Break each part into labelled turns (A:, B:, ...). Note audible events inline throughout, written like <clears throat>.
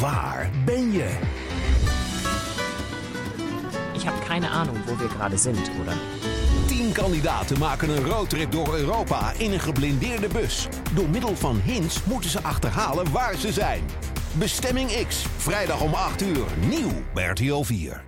A: Waar ben je?
B: Ich habe keine Ahnung, wo wir gerade sind, oder?
A: Tien kandidaten maken een roadtrip door Europa in een geblindeerde bus. Door middel van hints moeten ze achterhalen waar ze zijn. Bestemming X, vrijdag om 8 uur, nieuw bij RTL 4.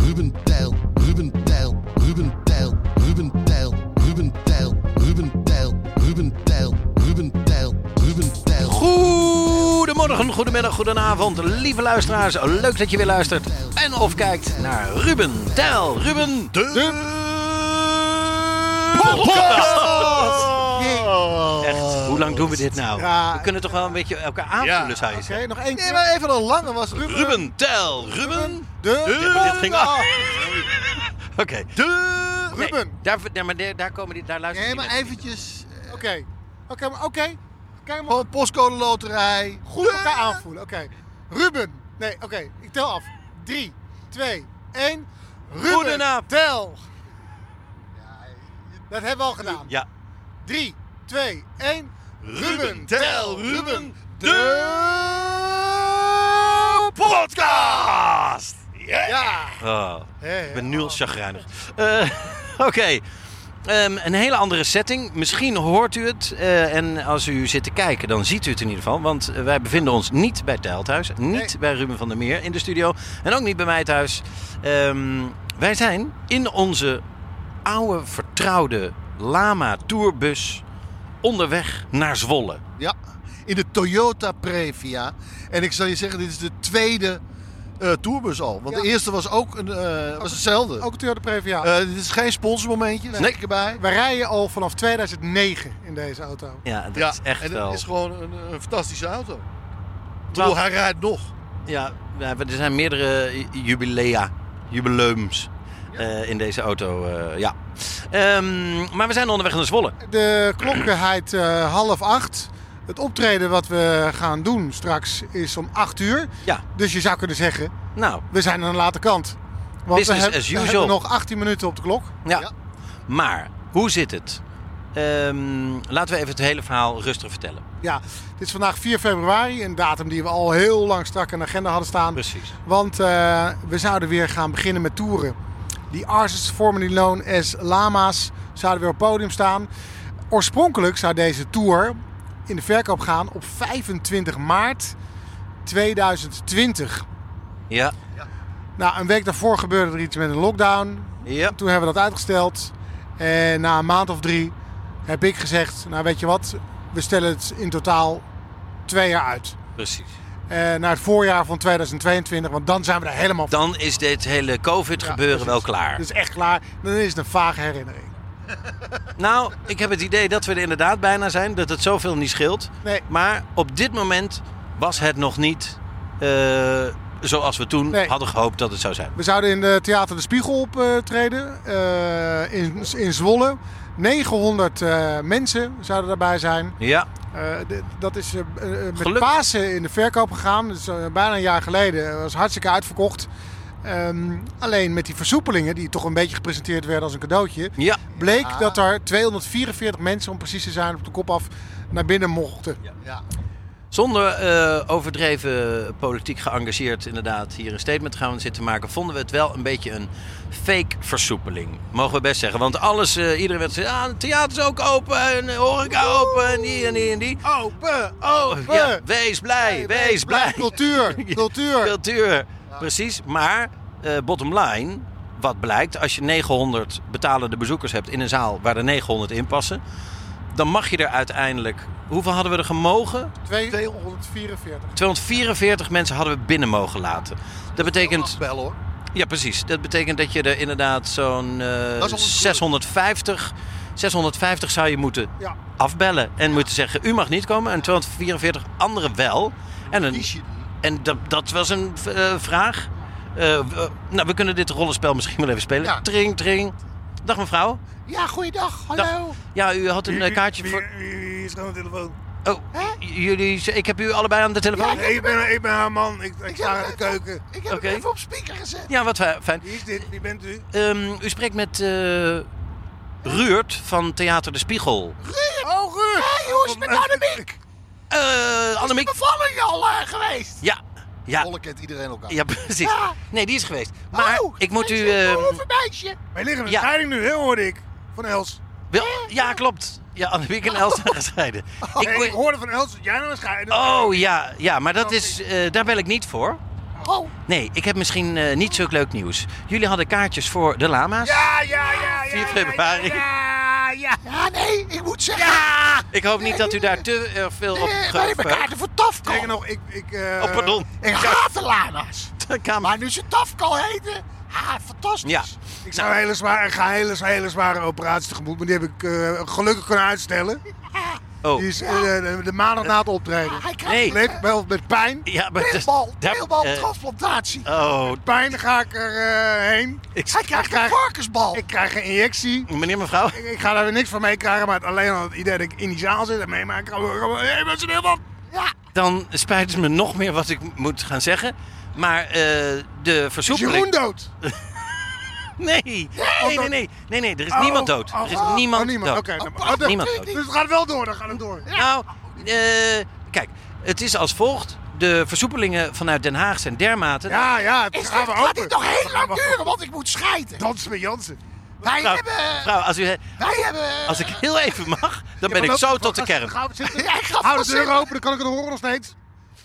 C: Ruben Tijl, Ruben Tijl, Ruben Tijl, Ruben Tijl, Ruben Tijl, Ruben Tijl, Ruben Tijl, Ruben Tijl, Ruben Tijl.
D: Goedemorgen, goedemiddag, goedenavond, lieve luisteraars. Leuk dat je weer luistert en of kijkt naar Ruben Tel. Ruben de, Echt, hoe lang doen we dit nou?
E: Ja.
D: We kunnen toch wel een beetje elkaar aanvullen, zou je
E: Oké,
D: zeggen.
E: nog één keer.
D: Nee, maar
E: even een lange was Ruben.
D: Ruben Tel, Ruben
E: De-
D: Ja, maar dit ging af. Oké. Nee,
E: Ruben.
D: daar, daar, maar daar, daar komen die, daar luisteren
E: Nee,
D: die
E: maar
D: mensen
E: eventjes. eh, Oké. Oké, maar oké. Kijk maar. Gewoon postcode loterij. Goed elkaar aanvoelen. Oké. Ruben. Nee, oké. Ik tel af. 3, 2, 1. Ruben.
D: Goedenavond.
E: Tel. Dat hebben we al gedaan.
D: niet. Ja.
E: 3, 2, 1. Ruben.
D: Tel, Ruben
E: De
D: podcast!
E: Ja.
D: Oh,
E: ja.
D: ik ben nu al chagrijnig. Eh, <laughs> Oké. Ehm, een hele andere setting. Misschien hoort u het. eh, en als u zit te kijken, dan ziet u het in ieder geval. Want eh, wij bevinden ons niet bij Tijlthuis. Niet
E: Nee.
D: bij Ruben van der Meer in de studio. En ook niet bij mij thuis. Ehm, wij zijn in onze oude, vertrouwde Lama Tourbus onderweg naar Zwolle.
E: Ja.
C: In de Toyota Previa. En ik zal je zeggen, dit is de tweede eh, tourbus al. Want
E: Ja.
C: de eerste was ook een, eh, was hetzelfde.
E: Ook de Previa.
C: Eh, dit is geen sponsormomentje, nee.
D: Nee.
C: ik erbij.
E: We rijden al vanaf 2009 in deze auto.
D: Ja, dat
C: Ja,
D: is echt
C: en
D: wel...
C: het is gewoon een, een fantastische auto. Ik bedoel, hij rijdt nog.
D: Ja, we hebben- er zijn meerdere jubilea, jubileums eh, in deze auto. eh, ja. Ehm, maar we zijn onderweg naar Zwolle.
E: De klok heidt eh, half acht. Het optreden wat we gaan doen straks is om acht uur.
D: Ja,
E: Dus je zou kunnen zeggen,
D: nou,
E: we zijn aan de late kant. Want
D: Business
E: we, hebben,
D: as
E: we
D: usual.
E: hebben nog 18 minuten op de klok.
D: ja.
C: Ja.
D: Maar, hoe zit het? Ehm, laten we even het hele verhaal rustig vertellen.
E: Ja, dit is vandaag 4 februari. Een datum die we al heel lang strak in de agenda hadden staan.
D: Precies.
E: Want eh, we zouden weer gaan beginnen met toeren. Die artists, formerly known as Lama's, zouden weer op het podium staan. Oorspronkelijk zou deze tour in de verkoop gaan op 25 maart 2020.
D: Ja,
E: Nou, een week daarvoor gebeurde er iets met een lockdown.
D: ja.
E: Toen hebben we dat uitgesteld. En na een maand of drie heb ik gezegd, nou weet je wat, we stellen het in totaal twee jaar uit.
D: precies.
E: Eh, naar het voorjaar van 2022, want dan zijn we er helemaal
D: Dan is dit hele COVID-gebeuren wel klaar.
E: Dat is echt klaar. Dan is het een vage herinnering.
D: Nou, ik heb het idee dat we er inderdaad bijna zijn. Dat het zoveel niet scheelt.
E: Nee.
D: Maar op dit moment was het nog niet eh, zoals we toen
E: Nee.
D: hadden gehoopt dat het zou zijn.
E: We zouden in de Theater de Spiegel optreden. eh, in, in Zwolle. 900 eh, mensen zouden daarbij zijn.
D: Ja,
E: Eh, d- dat is eh, eh, met
D: Gelukkig.
E: Pasen in de verkoop gegaan. Dat is eh, bijna een jaar geleden. Dat was hartstikke uitverkocht. Ehm, alleen met die versoepelingen, die toch een beetje gepresenteerd werden als een cadeautje,
D: ja.
E: bleek
F: Ah.
E: dat er 244 mensen, om precies te zijn, op de kop af naar binnen mochten.
D: Zonder eh, overdreven politiek geëngageerd inderdaad hier een statement gaan zitten maken, vonden we het wel een beetje een fake versoepeling. Mogen we best zeggen. Want alles, eh, iedereen werd gezegd, ah, het theater is ook open en de horeca open en die en die en die. Oh,
E: Open, open!
D: Ja, wees blij, wees blij. <laughs>
E: Cultuur, cultuur.
D: Cultuur, precies. Maar eh, bottom line, wat blijkt, als je 900 betalende bezoekers hebt in een zaal waar er 900 in passen, dan mag je er uiteindelijk. Hoeveel hadden we er gemogen?
E: 244.
D: 244 mensen hadden we binnen mogen laten. Dat betekent.
C: Wel hoor.
D: Ja, precies. Dat betekent dat je er inderdaad zo'n eh,
C: Dat is ongeveer.
D: 650 650 zou je moeten
E: Ja.
D: afbellen. En moeten zeggen, u mag niet komen. En 244 anderen wel. En, een,
F: Kies je niet.
D: en dat, dat was een eh, vraag. Eh, we- nou, we kunnen dit rollenspel misschien wel even spelen.
E: Ja.
D: Tring, tring. Dag mevrouw.
E: Ja, goeiedag. Hallo.
D: Dag. Ja, u had een eh, kaartje voor...
A: Wie is er aan de telefoon?
D: Oh, j- jullie, ik heb u allebei aan de telefoon? Ja,
A: Nee, ik ben, ik ben haar man. Ik, ik sta in de keuken.
E: Ik heb
D: Oké.
E: hem even op speaker gezet.
D: wat fi- fijn.
A: Wie is dit? Wie bent u?
D: Ehm, u spreekt met eh Ruurt van Theater De Spiegel.
E: Oh, Ruud. Hé, hoe is het met Annemiek?
D: Eh Annemiek?
E: Bevalling al eh, geweest?
D: Ja. Ja,
F: Alle kent iedereen elkaar.
D: ja, <laughs> precies. Nee, die is geweest. Maar
E: Oh,
D: ik moet u...
E: meisje,
D: ehm,
E: Over meisje.
A: Wij liggen in
D: Ja.
A: de scheiding nu, hè, hoorde ik. Van Els.
D: wil- ja, klopt. Ja, Annemiek en Els <laughs> zijn gescheiden. Ik,
A: Nee, ik
D: wil-
A: hoorde van Els dat jij nou een scheiding
D: oh, ja, ja, maar dat is, eh, daar bel ik niet voor.
E: Oh,
D: Nee, ik heb misschien eh, niet zulk leuk nieuws. Jullie hadden kaartjes voor de lama's.
A: Ja, ja, ja, ja.
D: 4
A: ja,
D: februari.
A: Ja, ja.
E: ja, nee, ik moet zeggen. Ja,
D: Ik hoop niet dat u daar te eh, veel op
E: eh, wij
D: ge-
E: hebben kaarten voor Tafkal.
A: Zeker nog, ik... ik eh,
D: Oh, pardon.
E: Ik haat de lama's.
D: De <laughs> kamer.
E: Maar nu ze Tafkal heten, ah, fantastisch.
D: Ja.
A: Ik zou een hele zware, ik ga een hele, hele zware operatie tegemoet, maar die heb ik eh, gelukkig kunnen uitstellen.
D: Oh.
A: Die is eh, de, de maandag na het optreden.
E: Hij krijgt
D: Nee.
A: Leek wel met pijn.
D: Ja, maar dat-
E: Teelbal,
D: daar-
E: teelbal,
D: eh,
E: transplantatie.
D: Oh,
A: Pijn ga ik er eh, heen.
D: Ik-
E: Hij krijgt een varkensbal.
A: Ik krijg een injectie.
D: meneer, mevrouw.
A: Ik, ik ga daar weer niks van meekrijgen, maar het, alleen al het idee dat ik in die zaal zit en Oh, meemaak. Hé, mensen, heel wat.
E: Ja,
D: Dan spijt het me nog meer wat ik m- moet gaan zeggen. Maar eh, de
A: Is
D: versoepeling...
A: Jeroen dood?
D: Nee. Nee, nee, nee. Nee, nee, er is niemand dood.
A: Oh,
D: Er is
A: oh,
D: niemand
A: oh, niemand.
D: dood.
A: Oké, nou, maar- oh, dat-
D: Niemand dood.
A: Dus het gaat wel door, dan gaat het door.
D: Nou, eh, kijk. Het is als volgt. De versoepelingen vanuit Den Haag zijn dermate...
A: Ja, ja, het
E: is
A: gaan
E: dat,
A: we
E: gaat
A: open.
E: dit nog heel lang
A: Gaan we-
E: duren, want ik moet scheiden.
A: Dansen met Jansen.
E: Wij
D: Mevrouw,
E: hebben...
D: mevrouw, Nou, als, u,
E: Wij hebben...
D: als ik heel even mag, dan ben
A: maar
D: ik
A: loop-
D: zo tot de kern.
A: Ga we zitten.
E: Ja, ik ga
A: Hou
E: vast
A: de deur
E: zitten.
A: open, dan kan ik het horen nog steeds.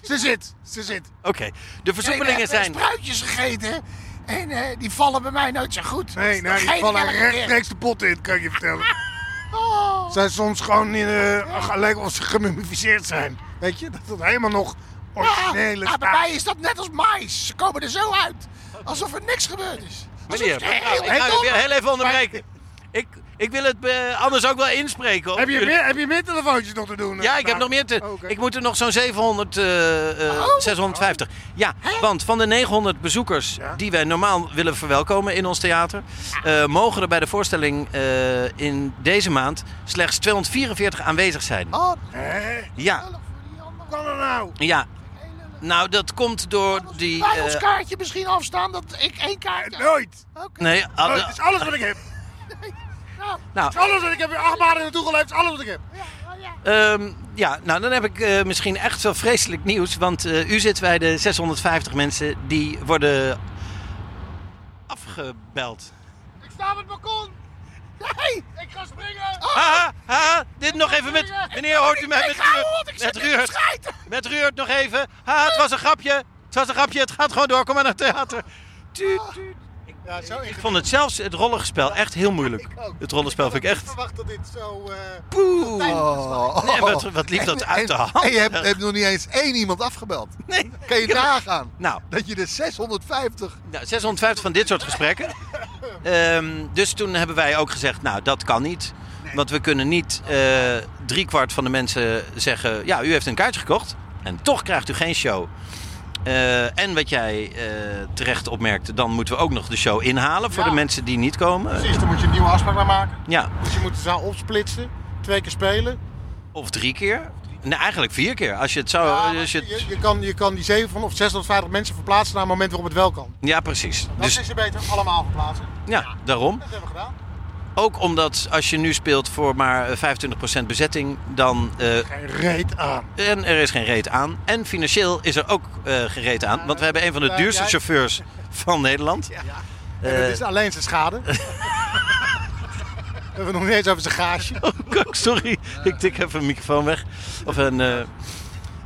A: Ze zit, ze zit.
D: Oké, de versoepelingen
E: Nee, we
D: zijn...
E: hebben spruitjes gegeten. En eh, die vallen bij mij nooit zo goed.
A: Nee,
E: nou
A: nou, die vallen rechtstreeks de pot in, kan ik je
E: <laughs>
A: vertellen.
E: Oh.
A: Ze zijn soms gewoon in, eh lijken of ze gemummificeerd zijn. Weet je, dat dat helemaal nog originele
E: Ja, Ah, bij
A: smaak-
E: mij is dat net als mais. Ze komen er zo uit. Alsof er niks gebeurd is. Alsof
D: Meneer,
E: het
D: mevrouw,
E: heel
D: ik ga u
E: dom-
D: weer heel even onderbreken. Ik, ik wil het eh, anders ook wel inspreken. hoor.
A: Heb je, meer, heb je meer telefoontjes nog te doen? eh,
D: Ja, ik heb
A: vandaag?
D: nog meer te...
A: Oh, oké. Oh.
D: Ik moet er nog zo'n 700, eh, eh, 650. Ja, want van de 900 bezoekers die wij normaal willen verwelkomen in ons theater... eh, mogen er bij de voorstelling eh, in deze maand slechts 244 aanwezig zijn.
E: Oh,
A: Hè?
D: Ja,
A: Hoe kan dat nou?
D: ja. Nou, dat komt door die...
E: wij ons
D: eh,
E: kaartje misschien afstaan dat ik één kaartje...
A: Eh, Nooit.
E: Oké.
D: nee, ah,
A: Nooit. Het is alles wat
E: <laughs>
A: ik heb.
E: Nou,
D: nou,
A: Het is alles wat ik heb. Acht maanden naartoe geleefd. Het is alles wat ik heb.
D: Ehm, ja, nou dan heb ik eh, misschien echt wel vreselijk nieuws. Want eh, u zit bij de 650 mensen die worden afgebeld.
E: ik sta op het balkon. Nee, ik ga springen. Ah.
D: Haha, haha, Ah, dit nog even met... Meneer, hoort u mij met
E: Ik ga,
D: Ruurt?
E: want ik zit
D: Met
E: in
D: Ruurt.
E: de schijt.
D: Met Ruurt nog even. Haha, het was een grapje. Het was een grapje. Het gaat gewoon door. Kom maar naar het theater. Tuut, tuut.
E: Ja, zo
D: Ik vond het zelfs, het rollenspel, echt heel moeilijk. Het rollenspel vind ik echt...
E: verwacht dat dit zo... eh,
D: Poeh.
F: Oh.
D: Nee, wat, wat liep dat uit de hand?
F: En je hebt, hebt nog niet eens één iemand afgebeld.
D: Nee.
F: Kan je nagaan
D: Nou.
F: dat je de 650...
D: Nou, 650 van dit soort gesprekken. Ehm, dus toen hebben wij ook gezegd, nou dat kan niet. Want we kunnen niet eh driekwart van de mensen zeggen... ja, u heeft een kaartje gekocht en toch krijgt u geen show. Eh, en wat jij eh, terecht opmerkte, dan moeten we ook nog de show inhalen... voor de mensen die niet komen.
E: Precies, dan moet je een nieuwe afspraak maar maken.
D: Ja,
E: Dus je moet de zaal opsplitsen. Twee keer spelen.
D: of drie keer. Nee, eigenlijk vier keer. Als je het zou... als Eh, je het-
E: Je, je kan, je kan die 700 of 650 mensen verplaatsen naar het moment waarop het wel kan.
D: Ja, precies.
E: Dat
D: Dus
E: is ze beter allemaal verplaatsen.
D: ja, daarom.
E: Dat hebben we gedaan.
D: Ook omdat als je nu speelt voor maar eh, 25% bezetting... dan eh,
A: Geen reet aan.
D: En er is geen reet aan. En financieel is er ook eh gereed aan. Want we hebben een van de
E: Ja,
D: duurste
E: jij-
D: chauffeurs van Nederland.
A: En het is alleen zijn
D: Eh.
E: <laughs>
A: schade. we hebben het nog niet eens over zijn gaasje.
D: Oh, kak, <laughs> sorry, ik tik even een microfoon weg. Of een, eh,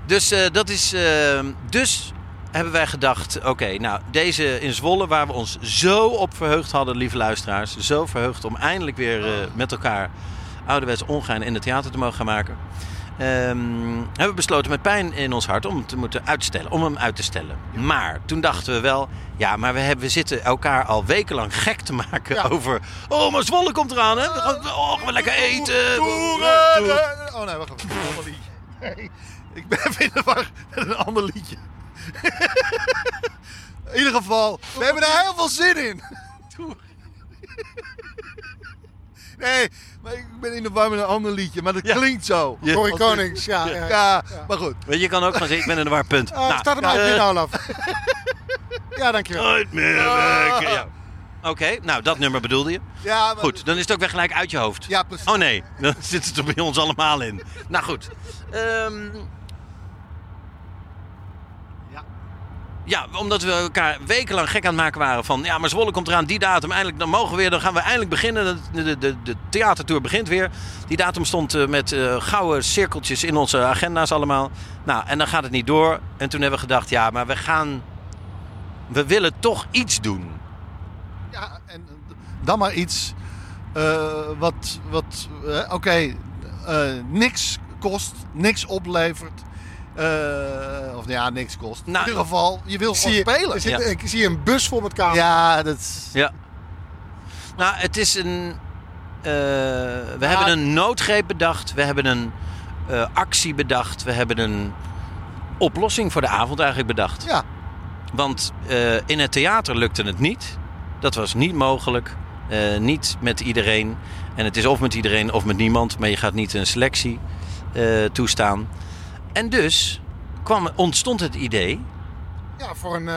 D: Dus eh, dat is. eh, dus hebben wij gedacht: oké, nou, deze in Zwolle, waar we ons zo op verheugd hadden, lieve luisteraars. Zo verheugd om eindelijk weer eh, met elkaar ouderwets ongein in het theater te mogen gaan maken. ehm, hebben we besloten met pijn in ons hart om hem te moeten uitstellen, om hem uit te stellen. Maar toen dachten we wel, ja, maar we, hebben, we zitten elkaar al wekenlang gek te maken over. Oh, maar Zwolle komt eraan, hè? We gaan, oh, gaan we lekker eten. Toeren.
E: Toeren. Oh nee, wacht even. Een ander liedje. Nee, ik ben <laughs> even in de war met een ander liedje. In ieder geval, we hebben er heel veel zin in. Toeren. Nee, maar ik ben in de war met een ander liedje, maar dat
D: Ja.
E: klinkt zo.
D: Ja.
G: Corrie
E: Als-
G: Konings, ja. ja.
E: Ja, maar goed.
D: Weet je, je kan ook gaan zeggen, ik ben in de war, punt.
G: Eh, start hem uit,
D: eh,
G: binnen,
E: <laughs>
G: Olaf. ja, dankjewel.
D: Nooit meer werken. Ja. Oké, nou dat nummer bedoelde je.
E: Ah. Ja, maar-
D: Goed, dan is het ook weer gelijk uit je hoofd.
E: Ja, precies.
D: Oh nee, <laughs> dan zit het er bij ons allemaal in. Nou goed. Ehm,
E: Ja.
D: ja, omdat we elkaar wekenlang gek aan het maken waren van... ja, maar Zwolle komt eraan, die datum, eindelijk, dan mogen we weer... dan gaan we eindelijk beginnen, de, de, de, de theatertour begint weer. Die datum stond eh, met eh, gouden cirkeltjes in onze agenda's allemaal. Nou, en dan gaat het niet door. En toen hebben we gedacht, ja, maar we gaan... we willen toch iets doen.
E: Ja, en eh, dan maar iets eh, wat, wat eh, oké, eh, niks kost, niks oplevert. Eh, of nou ja, niks kost.
D: Nou,
E: In ieder geval, je wil gewoon
G: Zie je-
E: spelen.
G: er zit-
D: Ja.
G: Ik zie een bus vol met camera's.
E: Ja, dat is...
D: Ja. Nou, het is een. eh, we hebben een noodgreep bedacht. We hebben een eh, actie bedacht. We hebben een oplossing voor de avond eigenlijk bedacht.
E: Ja.
D: Want eh, in het theater lukte het niet. Dat was niet mogelijk. Eh, niet met iedereen. En het is of met iedereen of met niemand. Maar je gaat niet een selectie eh, toestaan. En dus kwam, ontstond het idee.
G: Ja, voor een, eh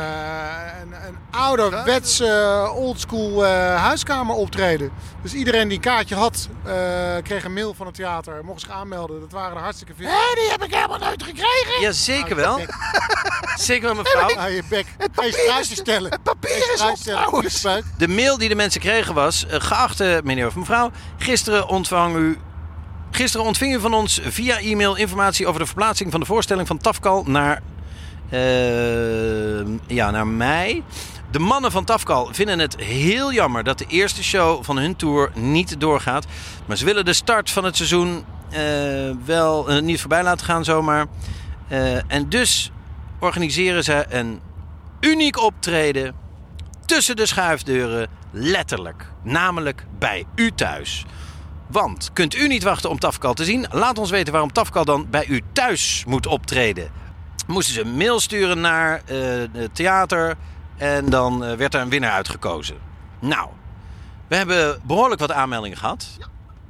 G: een, een ouderwetse, eh, oldschool eh, huiskamer optreden. Dus iedereen die een kaartje had, eh, kreeg een mail van het theater. Mocht zich aanmelden. Dat waren er hartstikke veel. Hé, die heb ik helemaal nooit gekregen!
D: Ja, zeker wel. <laughs> Zeker wel, mevrouw.
G: Hou je bek. Ga je struisjes stellen. Het papier is op trouwens.
D: De mail die de mensen kregen was: eh, geachte meneer of mevrouw, gisteren ontvang u. Gisteren ontving u van ons via e-mail informatie over de verplaatsing van de voorstelling van Tafkal naar. eh, ja, naar mei. De mannen van Tafkal vinden het heel jammer dat de eerste show van hun tour niet doorgaat. Maar ze willen de start van het seizoen eh, wel eh, niet voorbij laten gaan zomaar. Eh, en dus organiseren ze een uniek optreden tussen de schuifdeuren, letterlijk. Namelijk bij u thuis. Want kunt u niet wachten om Tafkal te zien? Laat ons weten waarom Tafkal dan bij u thuis moet optreden. Moesten ze een mail sturen naar eh, het theater en dan eh, werd er een winnaar uitgekozen. Nou, we hebben behoorlijk wat aanmeldingen gehad.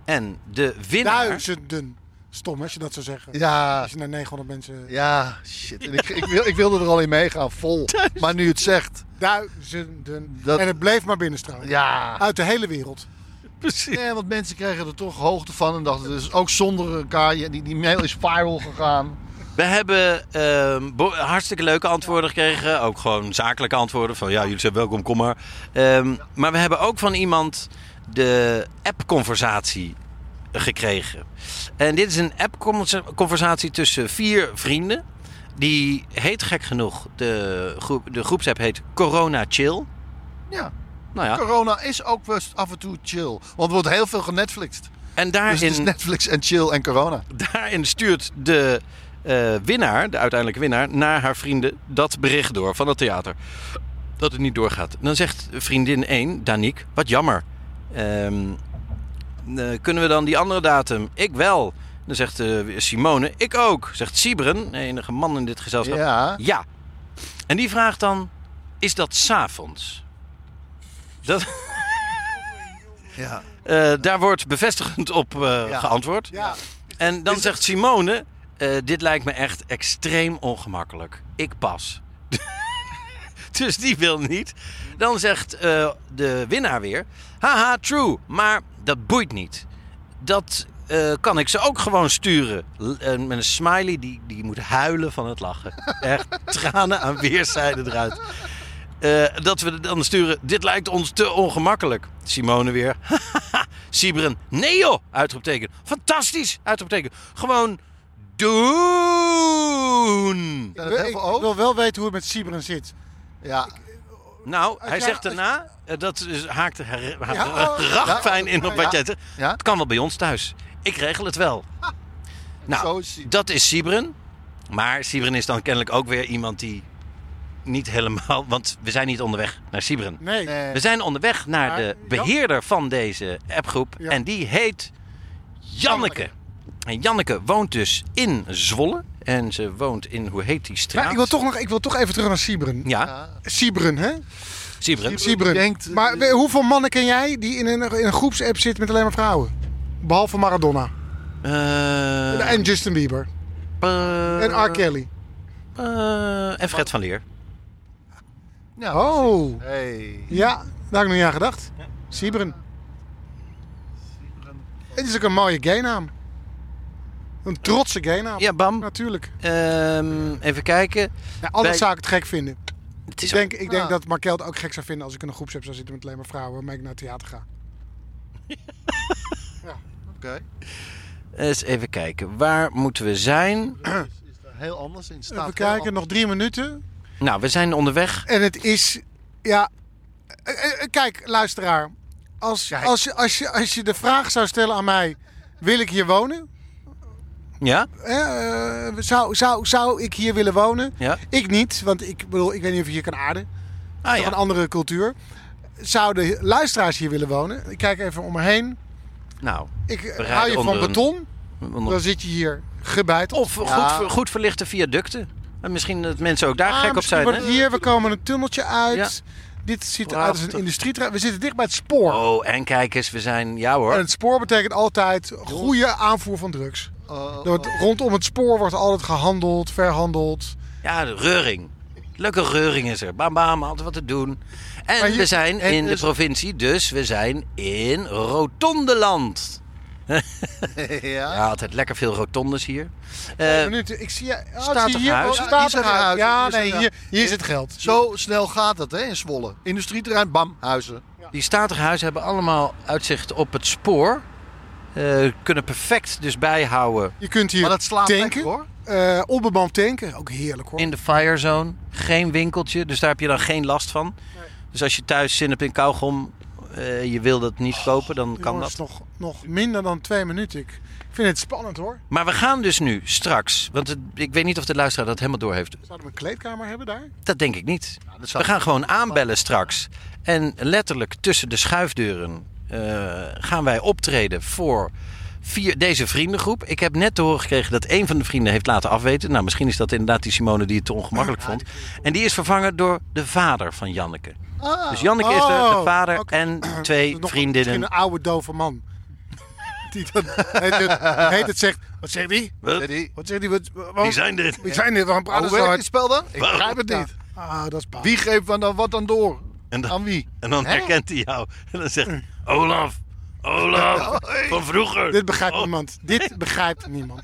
D: En de winnaar...
G: Duizenden. Stom als je dat zou zeggen.
E: Ja,
G: Als je naar 900 mensen...
E: ja, shit. En Ik, ik, wil, ik wilde er al in meegaan,
G: <laughs>
E: vol. Maar nu het zegt,
G: Duizenden.
E: Dat-
G: En het bleef maar binnenstralen.
E: ja.
G: Uit de hele wereld.
E: Nee, want mensen kregen er toch hoogte van en dachten dus ook zonder elkaar. je- Die, die mail is viral gegaan.
D: We hebben ehm, bo- hartstikke leuke antwoorden gekregen. Ook gewoon zakelijke antwoorden. Van ja, jullie zijn welkom, kom maar. Ehm, Maar we hebben ook van iemand de app-conversatie gekregen. En dit is een app-conversatie tussen vier vrienden. Die heet gek genoeg, de, groep, de groepsapp heet Corona Chill.
E: Ja.
D: Nou ja,
E: Corona is ook wel eens af en toe chill. Want er wordt heel veel genetflixt.
D: en
E: Dus het is
D: daarin,
E: Netflix en chill en corona.
D: daarin stuurt de eh, winnaar, de uiteindelijke winnaar, naar haar vrienden dat bericht door van het theater. Dat het niet doorgaat. Dan zegt vriendin 1, Danique, wat jammer. Ehm, eh, kunnen we dan die andere datum? Ik wel. Dan zegt eh, Simone, ik ook. Zegt Siebren, de enige man in dit gezelschap.
E: Ja.
D: Ja. En die vraagt dan, is dat s'avonds? Dat,
E: Ja.
D: eh, daar wordt bevestigend op eh,
E: Ja.
D: geantwoord.
G: Ja.
D: En dan zegt Simone: eh, Dit lijkt me echt extreem ongemakkelijk. Ik pas. <laughs> dus die wil niet. Dan zegt eh, de winnaar weer: Haha, true. Maar dat boeit niet. Dat eh, kan ik ze ook gewoon sturen. L- eh, met een smiley die, die moet huilen van het lachen. Echt tranen aan weerszijden eruit. Eh, dat we dan sturen. Dit lijkt ons te ongemakkelijk. Simone weer. <laughs> Sibren. Nee joh! Uitroepteken. Fantastisch! Uitroepteken. Gewoon doen!
E: Ja, dat heel
G: ik
E: veel ook.
G: wil wel weten hoe het met Sibren zit.
E: Ja.
D: Nou, hij
G: jij-
D: zegt daarna, eh, dat is, haakt er haakt
G: Ja,
D: er
G: oh,
D: ragfijn in op wat
E: ja.
D: jij zegt.
E: Ja.
D: Het kan wel bij ons thuis. Ik regel het wel.
E: Zo
D: Nou,
E: is hij.
D: dat is Siebren. Maar Siebren is dan kennelijk ook weer iemand die niet helemaal... Want we zijn niet onderweg naar Siebren.
G: Nee.
D: We zijn onderweg naar
G: Maar,
D: de
G: Jan-
D: beheerder van deze appgroep.
G: Ja.
D: En die heet Janneke. En Janneke woont dus in Zwolle. En ze woont in, hoe heet die straat?
G: Maar ik wil, toch nog, ik wil toch even terug naar Siebren.
D: Ja,
G: Siebren, hè?
D: Siebren.
G: Siebren.
E: denkt-
G: maar we- hoeveel mannen ken jij die in een, in een groepsapp zitten met alleen maar vrouwen? Behalve Maradona.
D: Eh,
G: en Justin Bieber.
D: eh,
G: en R. Kelly.
D: eh, en Fred van Leer.
E: Ja,
G: Oh.
E: Hey.
G: Ja, daar heb ik nog niet aan gedacht. Siebren. Het is ook een mooie gaynaam. Een trotse gaynaam.
D: Ja, bam.
G: Natuurlijk.
D: Ehm, even kijken.
G: Ja, anders
D: Bij-
G: zou ik het gek vinden.
D: Het
G: Ik
D: is
G: denk, ik denk dat Markel het ook gek zou vinden als ik in een groepsapp zou zitten met alleen maar vrouwen waarmee ik naar het theater ga.
E: Oké.
D: Eens even kijken. Waar moeten we zijn?
E: Is daar heel anders in staat.
G: Even
E: heel
G: kijken, nog drie minuten.
D: Nou, we zijn onderweg.
G: En het is, ja... eh, eh, eh, Kijk, luisteraar. Als,
E: Kijk.
G: Als, je, als, je, als je de vraag zou stellen aan mij, wil ik hier wonen?
D: Ja?
G: Hè, eh, zou, zou, zou ik hier willen wonen?
D: Ja.
G: Ik niet, want ik bedoel, ik weet niet of je hier kan aarden.
D: Ah
G: Toch een
D: ja.
G: andere cultuur. Zouden luisteraars hier willen wonen? Ik kijk even om me heen.
D: Nou.
G: Ik
D: we rijden
G: hou je van
D: onder een-
G: beton,
D: onder-
G: dan zit je hier gebeiteld.
D: Of goed, ver- goed verlichte viaducten. En misschien dat mensen ook daar
G: Ah,
D: gek op
G: misschien
D: zijn.
G: wordt
D: hè?
G: het hier, we komen een tunneltje uit. Dit ziet eruit als een
D: Prachtig.
G: industrieterrein. We zitten dicht bij het spoor.
D: Oh, en kijk eens, we zijn. Ja hoor.
G: En het spoor betekent altijd goede aanvoer van drugs.
E: Oh,
G: Er wordt- Rondom het spoor wordt altijd gehandeld, verhandeld.
D: Ja, de reuring. Leuke reuring is er. Bam, bam, altijd wat te doen. En
G: hier-
D: we zijn
G: en
D: in de
G: dus-
D: provincie, dus we zijn in Rotondeland.
E: <laughs> Ja.
D: Ja, altijd lekker veel rotondes hier. Eh,
G: Minuten, ik zie, oh,
D: Statig
G: ik zie hier,
D: huis.
G: oh,
D: Ja,
E: hier
G: statig
E: zijn
G: huis.
E: huizen,
G: Ja,
E: hier zijn
G: nee,
E: huizen.
G: hier, hier is het geld.
E: Zo snel gaat dat hè, in Zwolle. Industrieterrein, bam, huizen.
D: Die statige huizen hebben allemaal uitzicht op het spoor. Eh, kunnen perfect dus bijhouden
G: Je kunt hier
E: Maar dat slaat
G: tanken,
E: lekker, hoor.
G: Eh, onbemand tanken, ook heerlijk hoor.
D: in de fire zone. Geen winkeltje, dus daar heb je dan geen last van. Dus als je thuis zin hebt in kauwgom, eh, je wil dat niet kopen, dan kan
G: Jongens,
D: dat.
G: Nog, nog minder dan twee minuten. Ik vind het spannend hoor.
D: Maar we gaan dus nu straks, want het- ik weet niet of de luisteraar dat helemaal door heeft.
G: Zouden we een kleedkamer hebben daar?
D: Dat denk ik niet.
G: Nou,
E: dat zou-
D: We gaan gewoon aanbellen straks. En letterlijk tussen de schuifdeuren eh, gaan wij optreden voor vier, deze vriendengroep. Ik heb net te horen gekregen dat een van de vrienden heeft laten afweten. Nou, misschien is dat inderdaad die Simone die het te ongemakkelijk vond. En die is vervangen door de vader van Janneke. dus Janneke is de, de
G: Oh,
D: vader
G: oké. <clears throat> Dus
D: en twee
G: Nog een- misschien
D: vriendinnen.
G: een oude dove man. <laughs> Die dan heet het, heet het zegt. Wat zegt die?
D: Wat?
E: Die,
G: Wat zegt die? Wat, wat-
D: Wie zijn dit?
G: Wie zijn dit? Waarom praten
E: hoe
G: ze zo
E: werkt dit
G: hard?
E: spel dan? Ik begrijp het
G: Ja.
E: niet.
G: Ah, dat is paal.
E: Wie geeft dan, dan wat dan door?
D: En dan-
E: Aan wie?
D: En dan herkent hij jou. En dan
G: <clears throat>
D: zegt hij, Olaf,
G: <laughs>
D: Olaf, van vroeger.
G: Dit begrijpt niemand. Dit begrijpt niemand.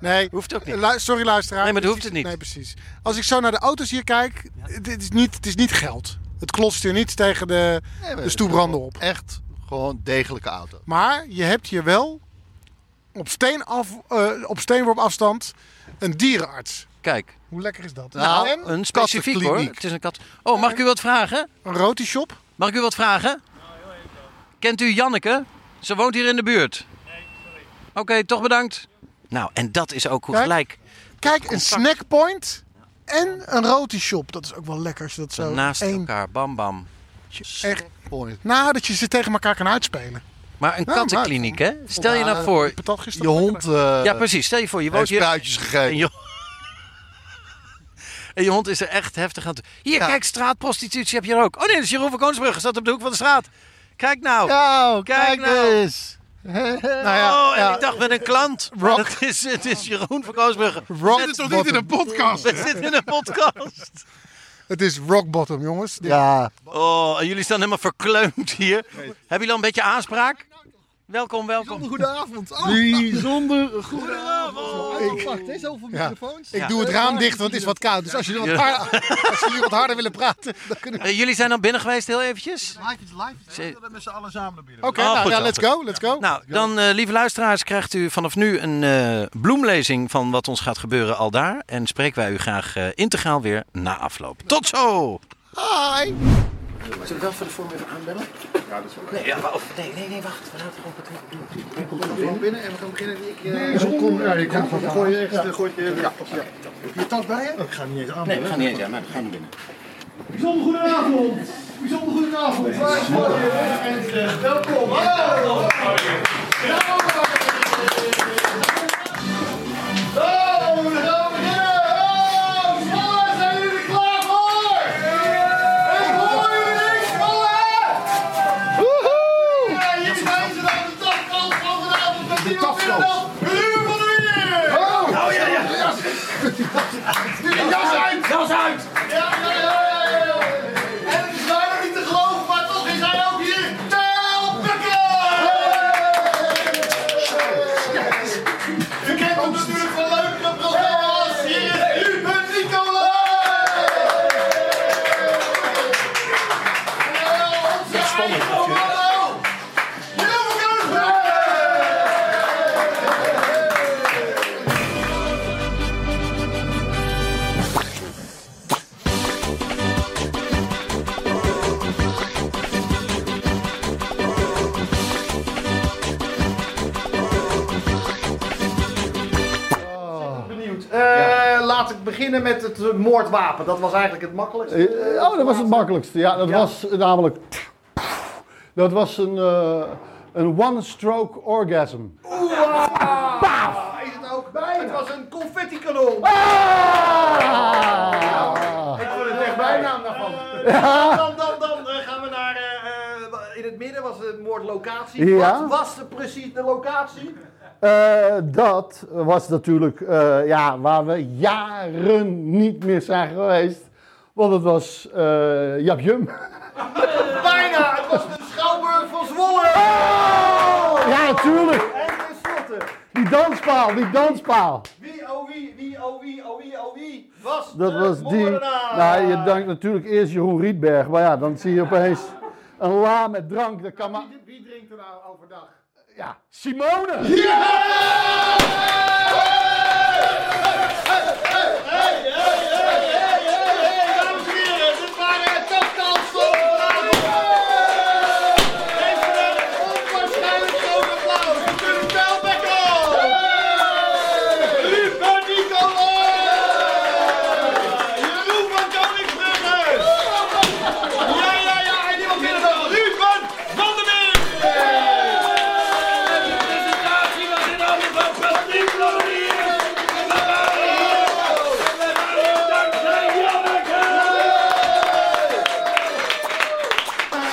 G: Nee.
D: Oh. <laughs> Hoeft ook niet.
G: Lu- sorry luisteraar.
D: Nee, maar dat hoeft
G: Dit is-
D: het niet.
G: Nee, precies. Als ik zo naar de auto's hier kijk, dit is niet, het is niet geld. Het klotst hier niet tegen de, de stoepranden op.
E: Echt gewoon degelijke auto.
G: Maar je hebt hier wel op, steen af, eh, op steenworp afstand een dierenarts.
D: Kijk,
G: Hoe lekker is dat?
E: Nou,
G: en
D: een specifiek hoor.
E: kattenkliniek.
D: Het is een kat. Oh, mag ik u wat vragen?
G: een rotieshop.
D: Mag ik u wat vragen? Kent u Janneke? Ze woont hier in de buurt. Nee, sorry. Oké, toch bedankt. Nou, en dat is ook hoe
G: Kijk.
D: gelijk.
G: Kijk, een snackpoint en een rotieshop. Dat is ook wel lekker als je dat zo
D: Naast
G: één-
D: elkaar, bam bam.
G: Echt,
E: Point.
G: nou, dat je ze tegen elkaar kan uitspelen.
D: Maar een
G: maar
D: kattenkliniek, hè? Stel je nou
G: Ja,
D: voor...
G: ik patat gisteren
E: Je
G: ook
E: hond
G: lekker.
E: eh
D: Ja, precies. Stel je voor, je woont
E: heeft
D: hier...
E: spruitjes
D: En
E: gegeven.
D: je... <laughs> en je hond is er echt heftig aan toe. Hier,
E: Ja.
D: kijk, straatprostitutie heb je er ook. Oh nee, dat is Jeroen van Koonsbrugge. Staat op de hoek van de straat. Kijk nou.
E: Nou,
D: Kijk
E: kijk,
D: nou.
E: eens.
G: <laughs> Nou ja,
D: oh, en
G: ja.
D: ik dacht met een klant.
G: Rock.
D: Het is, het is Jeroen van Koosbrugge.
G: Rock
D: Net-
G: bottom.
H: Dit in een podcast.
D: We zitten in een podcast.
G: Het is rock bottom, jongens. Dit-
E: Ja,
D: Oh, en jullie staan helemaal verkleumd hier. Hebben jullie al een beetje aanspraak? Welkom, welkom.
E: goedenavond. Oh,
G: Bijzonder goed.
E: ik, wacht, deze over microfoons.
G: Ik doe het raam dicht, want het is wat koud. Dus als jullie wat, harder, als jullie wat harder willen praten, dan kunnen we...
D: Eh, jullie zijn al binnen geweest heel eventjes?
E: Live is live.
D: Zee-
E: We met z'n allen samen naar binnen.
G: Oké,
D: Ah,
G: nou,
D: goed
G: ja,
D: zo.
G: let's go, let's go.
D: Nou, dan, eh, lieve luisteraars, krijgt u vanaf nu een eh, bloemlezing van wat ons gaat gebeuren al daar. En spreken wij u graag eh, integraal weer na afloop. Tot zo!
E: Hi.
D: Zullen we wel voor de vorm even aanbellen?
H: Ja, dat is wel leuk.
D: Nee, ja, wa- of- nee, nee, nee, wacht. We laten gewoon wat doen.
H: Kom binnen en we gaan beginnen. Ik, eh,
E: Kom, ja, je
H: ja,
E: komt
H: dan
E: van
H: gooi je echt, eh, gooi je, ja. ja. Heb je je tas bij je?
E: Ik ga niet eens aan.
D: Nee, we gaan niet eens aan, maar we gaan niet binnen.
E: Bijzonder goedenavond. Bijzonder goedenavond. Waar is Martin? En eh, welkom. Hallo. Hallo. we gaan beginnen. Oh, mannen, zijn jullie er klaar voor? Ik hoor jullie niks, mannen. Ja, hier zijn ze dan, de tafkant van vanavond met niemand minder dan Ruud van der Meer. Doe je jas uit. Ja, ja, ja, ja, ja, ja. En het is bijna niet te geloven, maar toch is hij ook hier. Tel U kent hem natuurlijk van leukere programma's. Hier is Ruben Nicolai. Ja, onze eigen Romano. Hilversum.
I: Benieuwd. Eh, Laat ik beginnen met het eh, moordwapen. Dat was eigenlijk het makkelijkste.
J: Eh, Oh, dat was het makkelijkste. Ja, dat was namelijk. Dat was een, eh, een one-stroke orgasm.
I: Ah, Is het ook? bij? Het was een confetti-kanon.
J: Ah!
I: Ik vond het echt bijnaam daarvan.
J: Eh,
I: Dan, dan, dan eh, gaan we naar... eh, eh, in het midden was het moordlocatie.
J: Ja.
I: Wat was de, precies de locatie?
J: Eh, dat was natuurlijk eh, ja, waar we jaren niet meer zijn geweest. Want het was eh Jap Jum.
I: <laughs> Bijna! Het was de Schouwburg van Zwolle!
J: Oh! Ja, natuurlijk.
I: En tenslotte,
J: Die danspaal, die danspaal.
I: wie, oh wie, wie, oh wie, oh wie, oh wie, was
J: Dat
I: de
J: was die.
I: moordenaar?
J: Nou, je dankt natuurlijk eerst Jeroen Rietberg. Maar ja, dan zie je opeens een la met drank. Dat kan maar...
I: Wie, wie drinkt er nou overdag?
J: Ja, Simone!
I: Dames en heren, dit waren topkans van vanavond. Geef ze een onwaarschijnlijk groot applaus voor Willem Telbekkel. Ruud van Nicolai. Jeroen van Koningsbrugge. Ja, ja, ja, en die was binnen wel. Ruud van Van der Meer. En de presentatie was in handen van Patrick Lodiers. We waren hier. En we waren hier dankzij Janneke.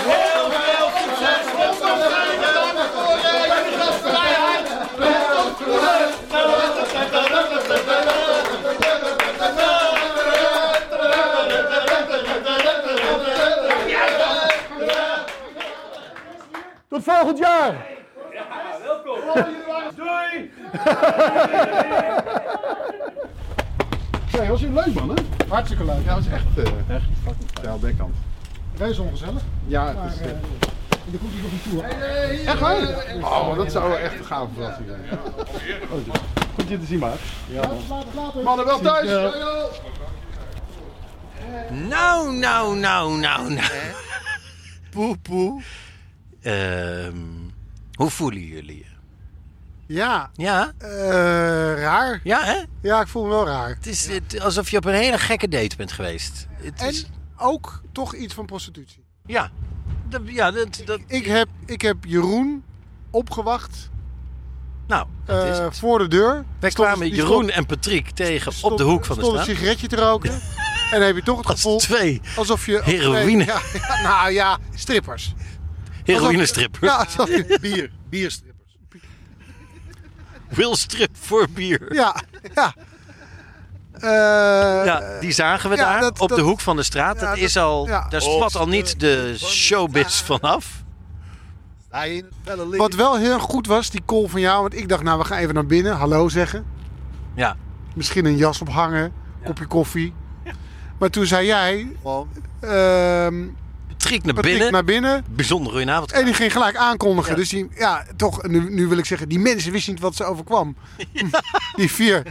I: Heel veel succes met Martijn de Lange voor jullie gastvrijheid.
J: Tot volgend jaar!
I: Doei!
E: Hey, was jullie leuk, man, hè?
G: Hartstikke leuk.
E: Ja, dat is echt... eh echt fucking Tel Bekkant.
G: Wees ongezellig.
E: Ja, het is... eh,
G: Er komt hier nog een tour.
E: Echt waar? Oh, maar dat zou echt een gave verrassing zijn. Oh,
J: Goed je te zien, maat.
G: Later, later.
E: Mannen, wel thuis!
D: Nou, nou, nou, nou, nou.
G: <laughs>
D: Poe, poe. Ehm, hoe voelen jullie je?
G: Ja,
D: Ja,
G: eh, raar.
D: ja hè?
G: Ja, ik voel me wel raar.
D: Het is het- alsof je op een hele gekke date bent geweest. Het
G: En
D: is,
G: ook toch iets van prostitutie.
D: ja, dat, ja dat, dat,
G: Ik heb, ik heb Jeroen opgewacht
D: nou, dat is
G: eh,
D: het.
G: voor de deur.
D: Wij
G: Stond-
D: kwamen
G: die
D: Jeroen
G: stond-
D: en Patriek tegen op
G: stond-
D: de hoek van de
G: stond een
D: straat.
G: sigaretje te roken. En dan heb je toch het
D: Als
G: gevoel
D: twee
G: alsof je...
D: Heroïne.
G: Ja, ja, nou ja, strippers.
D: Heroïnestrip.
G: Ja, alsof
D: <laughs>
G: je-
E: Bier, bierstrippers.
D: Will strip voor bier.
G: ja. ja. Eh,
D: Ja, die zagen we
G: ja,
D: daar
G: dat-
D: op de
G: dat-
D: hoek van de straat.
G: ja,
D: dat
G: dat-
D: is al,
G: ja.
D: daar spat al niet de showbiz vanaf.
E: Hij in het felle licht.
G: Wat wel heel goed was, die call van jou. Want ik dacht, nou, we gaan even naar binnen. Hallo zeggen.
D: Ja,
G: Misschien een jas ophangen. Kopje koffie. Maar toen zei jij...
E: Gewoon.
G: ehm
D: Patrick naar
G: Patrick
D: binnen.
G: naar binnen.
D: Bijzonder goedenavond.
G: En die ging gelijk aankondigen. Dus die, ja, toch, nu, nu wil ik zeggen, die mensen wisten niet wat ze
D: <laughs>
G: overkwam. Die vier.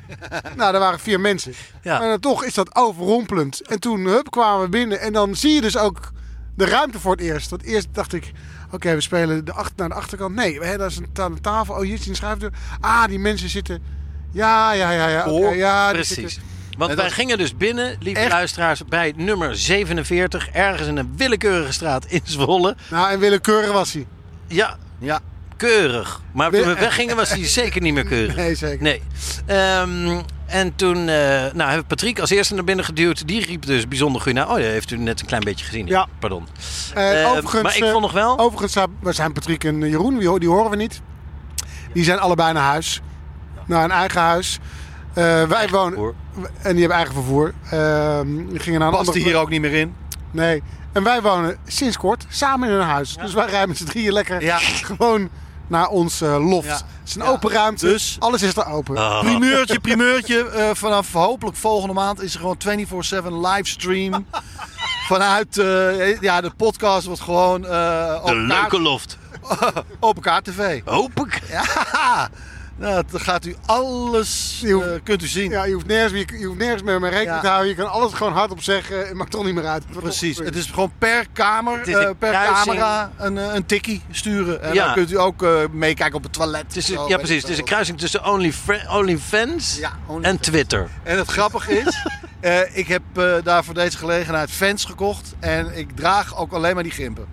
G: Nou, er waren vier mensen.
D: Ja.
G: Maar dan toch is dat overrompelend. En toen hup, kwamen we binnen. En dan zie je dus ook de ruimte voor het eerst. Want eerst dacht ik, oké, we spelen de acht, naar de achterkant. Nee, we daar is een, ta- een tafel. Oh, hier is een schuifdeur. Ah, die mensen zitten... Ja, ja, ja, ja. oké,
D: Hoor,
G: ja die
D: Oh, precies.
G: zitten-
D: Want
G: En
D: wij
G: dat-
D: gingen dus binnen, lieve
G: Echt?
D: luisteraars, bij nummer 47, ergens in een willekeurige straat in Zwolle.
G: Nou, en willekeurig was hij.
D: Ja,
E: ja.
D: keurig. Maar toen we weggingen was
G: <laughs>
D: hij zeker niet meer keurig.
G: Nee, zeker.
D: Nee. Ehm, en toen eh, nou, hebben we Patrick als eerste naar binnen geduwd. Die riep dus bijzonder goed naar. Oh, dat heeft u net een klein beetje gezien.
G: Ja.
D: Pardon.
G: Eh,
D: Ehm,
G: overigens,
D: maar ik
G: eh,
D: vond nog wel...
G: Overigens zijn, we zijn Patrick en eh, Jeroen, die, ho- die horen we niet. Die zijn allebei naar huis. Naar een eigen huis. Eh, wij wonen...
D: Oh,
G: En die hebben eigen vervoer. Ehm die gingen naar een
E: Past
G: andere-
E: hier ook niet meer in.
G: Nee. En wij wonen sinds kort samen in een huis. Dus wij rijden met z'n drieën lekker gewoon naar ons eh, loft.
E: Ja.
G: Het is een open ruimte.
E: Dus-
G: Alles is er open.
D: Ah.
E: Primeurtje, primeurtje. eh, vanaf hopelijk volgende maand is er gewoon 24-7 <laughs> livestream. Vanuit eh, ja, de podcast wordt gewoon... eh,
D: De
E: open kaart-
D: leuke loft.
E: Open Kaart TV.
D: Hoop ik.
E: Ja, <laughs> nou, dan gaat u alles...
G: Je hoeft-
E: eh, kunt u zien.
G: ja, je, hoeft nergens, meer- je hoeft nergens meer mee rekening
E: Ja.
G: te houden. Je kan alles gewoon hardop zeggen. Het maakt toch niet meer uit.
E: Precies, het is gewoon per kamer,
D: is een
E: eh, per
D: kruising.
E: camera een, eh, een tikkie sturen. En
D: Ja.
E: dan kunt u ook eh, meekijken op het toilet.
D: Dus Het is
E: of
D: een-
E: zo,
D: ja,
E: weet
D: precies.
E: ik
D: Het is een
E: veel.
D: kruising tussen OnlyFri- OnlyFans
E: Ja,
D: en
E: OnlyFans.
D: Twitter.
E: En het grappige
D: <laughs>
E: is, eh, ik heb eh, daar voor deze gelegenheid fans gekocht. En ik draag ook alleen maar die gimpen.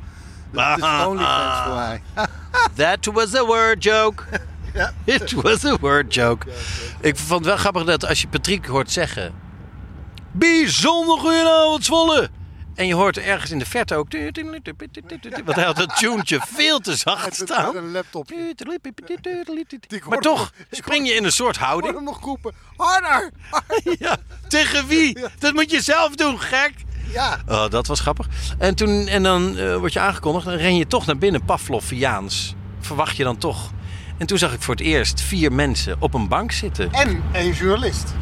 E: Dus het
D: <laughs>
E: is
D: Ah.
E: OnlyFans voor
G: <laughs>
E: mij.
D: That was a word joke. <laughs> It was a word joke. Ik vond het wel grappig dat als je Patrick hoort zeggen... Bijzonder goedenavond Zwolle! En je hoort ergens in de verte ook... Want hij had dat tunetje veel te zacht
G: Het is
D: staan.
G: een laptop.
D: Maar toch spring je in een soort
G: Ik hoor
D: houding.
G: hem nog roepen. Harder! harder.
D: <laughs> Ja, tegen wie? Dat moet je zelf doen, gek!
G: Ja.
D: Oh, dat was grappig. En, toen, en dan eh, word je aangekondigd. Dan ren je toch naar binnen, Pavloviaans. Verwacht je dan toch. En toen zag ik voor het eerst vier mensen op een bank zitten.
G: En een journalist.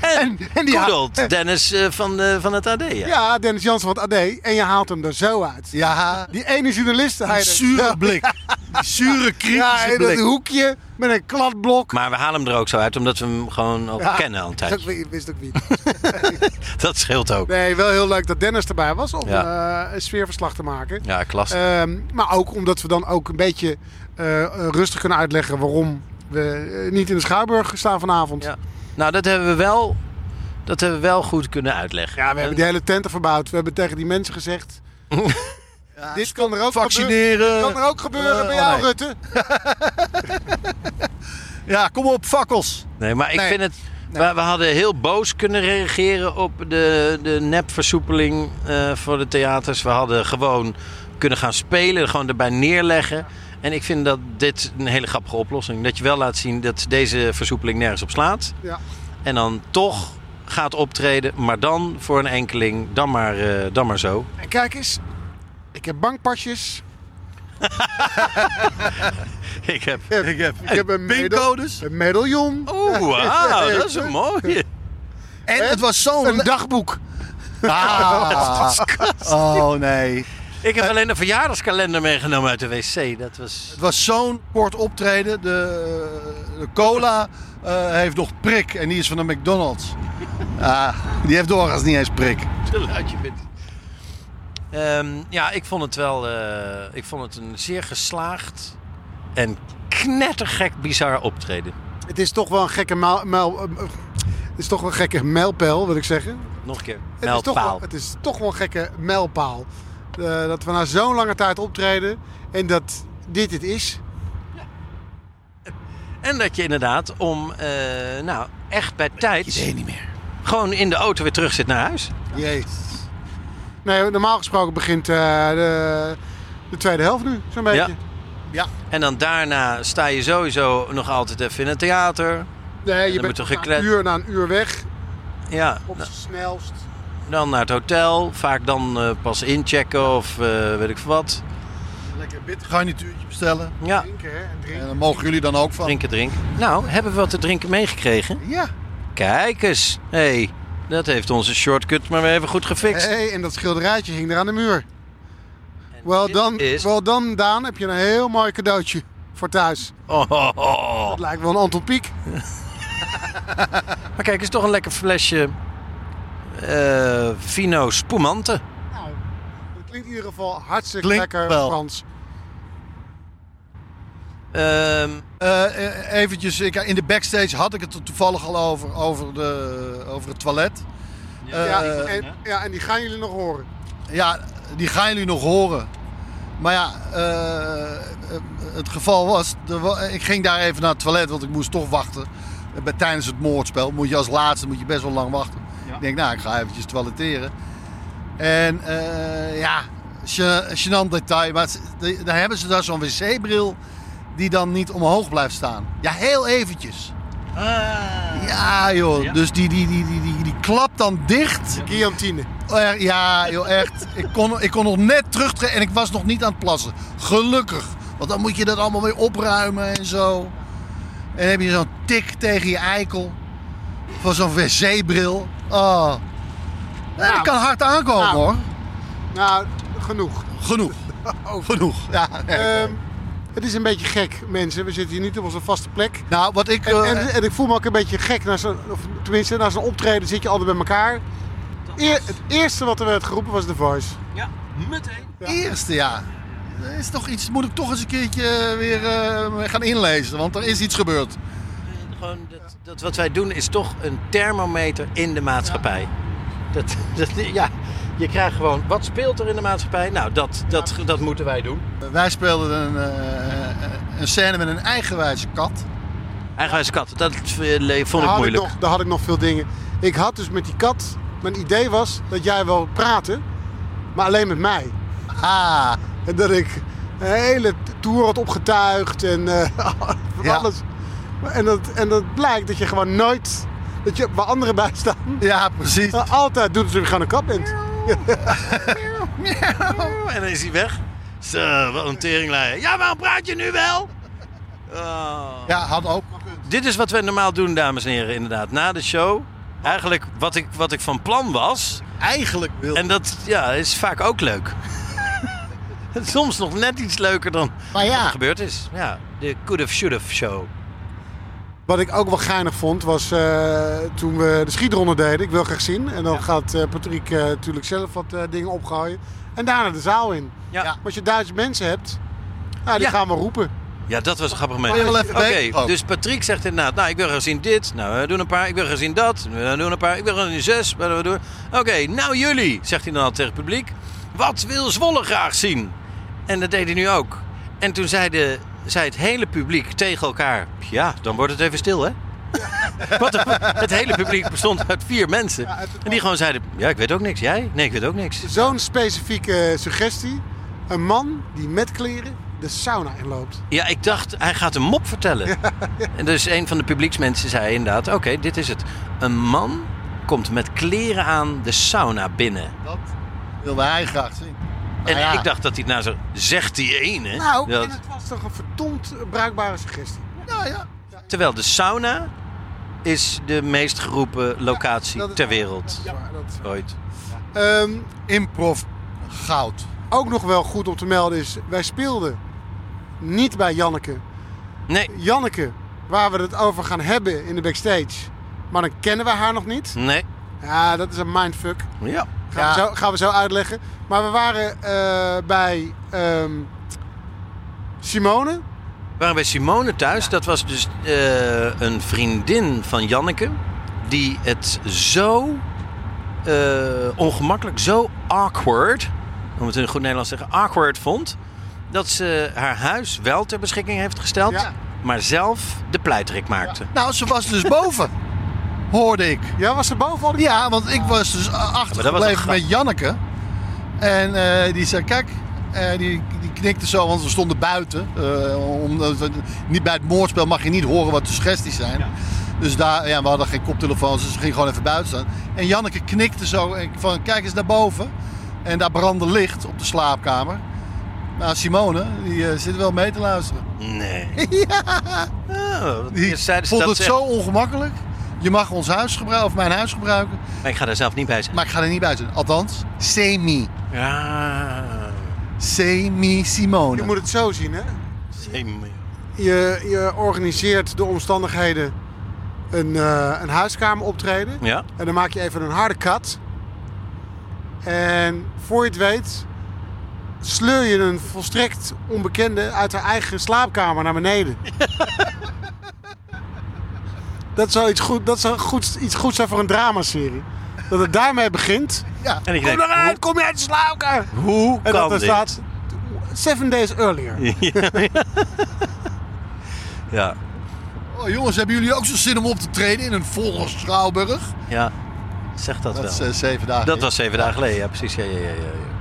D: En, en
G: die-
D: Dennis eh, van, eh, van het AD. Ja.
G: Ja, Dennis Jansen van het AD. En je haalt hem er zo uit.
E: Ja,
G: Die ene journalist. Hij
E: die
G: er
E: zure
G: zo-
E: blik. Die zure
G: Ja,
E: kritische
G: in dat
E: blik.
G: hoekje met een kladblok.
D: Maar we halen hem er ook zo uit, omdat we hem gewoon al
G: Ja,
D: kennen al nou, een
G: dat
D: tijdje.
G: wist- wist ook niet.
D: Dat scheelt ook.
G: Nee, wel heel leuk dat Dennis erbij was om
D: Ja.
G: eh, een sfeerverslag te maken.
D: Ja, klasse.
G: Ehm, maar ook omdat we dan ook een beetje eh, eh, rustig kunnen uitleggen waarom we eh, niet in de Schouwburg staan vanavond. Ja.
D: Ja. Nou, dat hebben we wel... Dat hebben we wel goed kunnen uitleggen.
G: we hebben die hele tent er verbouwd. We hebben tegen die mensen gezegd...
D: <laughs>
G: dit kan er ook
E: Vaccineren.
G: gebeuren, kan er ook gebeuren
E: Eh,
G: bij
E: oh,
G: jou,
E: nee.
G: Rutte.
E: Ja, kom op, fakkels.
D: Nee, maar ik
E: Nee.
D: vind het. We, we hadden heel boos kunnen reageren op de, de nepversoepeling eh, voor de theaters. We hadden gewoon kunnen gaan spelen, gewoon erbij neerleggen. En ik vind dat dit een hele grappige oplossing. Dat je wel laat zien dat deze versoepeling nergens op slaat.
G: Ja.
D: En dan toch gaat optreden, maar dan voor een enkeling, dan maar, eh, dan maar zo. <laughs>
G: En kijk eens, ik heb bankpasjes.
D: Ik heb...
E: Ik heb,
G: Ik heb een, medal,
E: pincodes.
G: een medaillon.
D: <laughs> Oeh, wauw, dat is een mooie.
E: En het was zo'n...
G: Een dagboek. <laughs>
E: Ah. Oh nee.
D: Ik heb alleen een verjaardagskalender meegenomen uit de wc. Dat was...
E: Het was zo'n kort optreden. De, de cola eh, heeft nog prik en die is van de <laughs> McDonald's. Ah, die heeft doorgaans niet eens prik.
D: Zo luid je bent. Ehm, ja, ik vond het wel. eh, ik vond het een zeer geslaagd en knettergek bizar optreden.
G: Het is toch wel een gekke mijl, mijl- eh, eh, het is toch wel een gekke mijlpaal, wil ik zeggen.
D: Nog een keer.
G: Het is, toch wel,
D: Mijlpaal.
G: het is toch wel een gekke mijlpaal. Eh, dat we na zo'n lange tijd optreden en dat dit het is.
D: En dat je inderdaad om, eh, nou, echt bij tijd. niet meer. Gewoon in de auto weer terug zit naar huis.
E: Jezus.
G: Nee, normaal gesproken begint eh, de, de tweede helft nu, zo'n beetje.
D: Ja.
E: Ja,
D: En dan daarna sta je sowieso nog altijd even in het theater.
G: Nee, je
D: Dan
G: bent
D: moet er
G: na een
D: geklet-
G: uur na een uur weg.
D: Ja, nou,
G: Op het snelst.
D: dan naar het hotel. Vaak dan eh, pas inchecken of eh, weet ik veel wat.
E: lekker bitter garnituurtje bestellen.
D: Ja,
G: Drinken, hè? En drinken.
E: En daar mogen jullie dan ook van.
D: drinken, drinken. Nou, hebben we wat te drinken meegekregen?
E: Ja.
D: Kijk eens. Hé, hey, dat heeft onze shortcut maar weer even goed gefixt.
G: Hey, en dat schilderijtje hing er aan de muur. Wel
D: dit
G: dan,
D: is-
G: wel dan, Daan, heb je een heel mooi cadeautje voor thuis.
D: Oh, oh, oh.
G: Het lijkt wel een Anton Pieck.
D: Maar kijk, het is toch een lekker flesje eh, Vino Spumante.
G: Nou, Klinkt in ieder geval hartstikke
E: Klinkt
G: lekker
E: wel.
G: Frans.
D: Ehm,
E: Eh, eh, eventjes, ik, in de backstage had ik het er toevallig al over, over, de, over het toilet.
G: ja,
E: Eh,
G: en, ja, en die gaan jullie nog horen.
E: Ja, die gaan jullie nog horen. Maar ja, eh, eh, het geval was, er wa- ik ging daar even naar het toilet, want ik moest toch wachten. Eh, bij- Tijdens het moordspel moet je als laatste moet je best wel lang wachten. Ik denk, nou, ik ga eventjes toileteren. En eh, ja, gê- gênant detail, maar het- de- daar hebben ze daar zo'n wc-bril die dan niet omhoog blijft staan. Ja, heel eventjes. Ja, joh. Dus die, die, die, die, die, die klapt dan dicht.
G: Guillotine.
E: Oh, Ja, joh, echt. Ik kon, ik kon nog net terugtrekken en ik was nog niet aan het plassen. Gelukkig. Want dan moet je dat allemaal weer opruimen en zo. En dan heb je zo'n tik tegen je eikel. Van zo'n wc-bril. Oh. Ja, dat kan hard aankomen,
G: nou.
E: hoor.
G: Nou, genoeg.
E: Genoeg. Genoeg. Oh. Ja,
G: Ehm, het is een beetje gek, mensen. We zitten hier niet op onze vaste plek.
E: Nou, wat ik...
G: En,
E: eh,
G: en, en ik voel me ook een beetje gek. Naar zo'n- of tenminste, na zo'n optreden zit je altijd bij elkaar. Eer- het eerste wat er werd geroepen was The Voice.
D: Ja, meteen.
E: eh, Eerste, ja. Er is toch iets, moet ik toch eens een keertje weer eh, gaan inlezen, want er is iets gebeurd.
D: Gewoon dat, dat wat wij doen is toch een thermometer in de maatschappij. Dat, dat, ja, je krijgt gewoon, wat speelt er in de maatschappij? Nou, dat, dat, dat moeten wij doen.
E: Wij speelden een, eh, een scène met een eigenwijze kat.
D: Eigenwijs kat, dat eh, vond ik
G: had
D: moeilijk.
G: Ik nog, daar had ik nog veel dingen. Ik had dus met die kat, mijn idee was dat jij wel praatte, maar alleen met mij.
E: Ah.
G: En dat ik een hele tour had opgetuigd en eh, <laughs> van
E: Ja.
G: alles. En dat, en dat blijkt dat je gewoon nooit, dat je waar anderen bij staan, <laughs>
E: Ja, precies.
G: eh, altijd doet alsof je gewoon een kat bent.
D: Oh, En dan is hij weg. Zo, wat een teringlijn. Ja, waarom praat je nu wel? Oh.
E: Ja, had ook.
D: Dit is wat we normaal doen, dames en heren, inderdaad. Na de show, eigenlijk wat ik, wat ik van plan was.
E: Eigenlijk wil.
D: En dat ja, is vaak ook leuk. <laughs> Soms nog net iets leuker dan
E: Maar
D: wat er
E: ja,
D: gebeurd is. Ja, de could have, should have show.
G: Wat ik ook wel geinig vond was eh, toen we de schietronde deden. Ik wil graag zien. En dan gaat eh, Patrick eh, natuurlijk zelf wat eh, dingen opgooien. En daarna de zaal in.
D: Ja.
G: Maar als je duizend mensen hebt, nou, die
D: Ja.
G: gaan we roepen.
D: Ja, dat was een grappig moment.
E: Wil je wel even
D: Oké,
E: mee? Oh.
D: dus Patrick zegt inderdaad, nou, ik wil gezien dit. Nou, we doen een paar. Ik wil gezien dat. We doen een paar. Ik wil gezien zes. Wat we doen. Oké, nou jullie, zegt hij dan al tegen het publiek. Wat wil Zwolle graag zien? En dat deed hij nu ook. En toen zei, de, zei het hele publiek tegen elkaar... Ja, dan wordt het even stil, hè? <laughs> Wat een- het hele publiek bestond uit vier mensen. en die gewoon zeiden, ja, ik weet ook niks. Jij? Nee, ik weet ook niks.
G: Zo'n specifieke eh, suggestie. Een man die met kleren de sauna inloopt.
D: Ja, ik dacht, hij gaat een mop vertellen. En dus een van de publieksmensen zei inderdaad... oké, dit is het. Een man komt met kleren aan de sauna binnen.
E: dat wilde hij graag zien.
D: En
E: Nou ja.
D: ik dacht dat hij nou zo... zegt die ene.
G: Ah, Nou,
D: Dat-
G: en het was toch een verdomd bruikbare suggestie.
E: Ja, Nou ja.
D: terwijl de sauna is de meest geroepen locatie
G: dat is
D: ter
G: waar.
D: wereld.
G: Ja, dat is-
D: Ooit.
G: Ehm,
E: Improv goud.
G: ook nog wel goed om te melden is, wij speelden niet bij Janneke.
D: Nee,
G: Janneke, waar we het over gaan hebben in de backstage. Maar dan kennen we haar nog niet.
D: nee.
G: Ja, dat is een mindfuck.
D: Ja.
G: Gaan,
E: Ja.
G: we, zo, gaan we zo uitleggen. Maar we waren eh, bij ehm, Simone.
D: We waren bij Simone thuis. Dat was dus eh, een vriendin van Janneke. Die het zo eh, ongemakkelijk, zo awkward, om het in goed Nederlands te zeggen, awkward vond. Dat ze haar huis wel ter beschikking heeft gesteld.
G: Ja.
D: Maar zelf de pleiterik maakte.
E: Nou, ze was dus boven, hoorde ik.
G: Ja, was ze boven al? die-
E: Ja, want ik was dus
D: een
E: achtergebleven
D: grap.
E: met Janneke. En eh, die zei, kijk, eh, die, die knikte zo, want we stonden buiten. Eh, omdat we- niet bij het moordspel mag je niet horen wat de suggesties zijn. Dus daar, ja, we hadden geen koptelefoons, dus we gingen gewoon even buiten staan. En Janneke knikte zo, en ik van kijk eens naar boven. En daar brandde licht op de slaapkamer. Nou, Simone, die eh, zit wel mee te luisteren.
D: Nee.
E: ja,
D: Oh, dat-
E: die
D: eerst zeiden ze
E: vond
D: dat
E: het
D: ze-
E: zo ongemakkelijk. Je mag ons huis gebruiken, of mijn huis gebruiken.
D: Maar ik ga daar zelf niet bij zijn.
E: Maar ik ga er niet buiten. Althans, semi.
D: Ja.
E: Semi Simone.
G: Je moet het zo zien, hè?
D: Semi.
G: Je, je organiseert de omstandigheden een, eh een huiskamer optreden.
D: Ja.
G: En dan maak je even een harde kat. En voor je het weet sleur je een volstrekt onbekende uit haar eigen slaapkamer naar beneden. <laughs> dat zou, iets goed, dat zou goed, iets goed zijn voor een dramaserie. Dat het daarmee begint.
D: En ik
G: kom
D: denk,
G: eruit, kom je uit de slaapkamer.
D: Hoe kan
G: en dat er
D: dit?
G: staat seven days earlier.
D: Ja,
E: Oh, jongens, hebben jullie ook zo'n zin om op te treden in een volle Schouwburg?
D: ja. Zeg dat,
E: Dat
D: wel.
E: is, eh, zeven dagen
D: Dat
E: geleden.
D: was zeven dagen geleden, ja precies. Ja, ja, ja, ja, ja.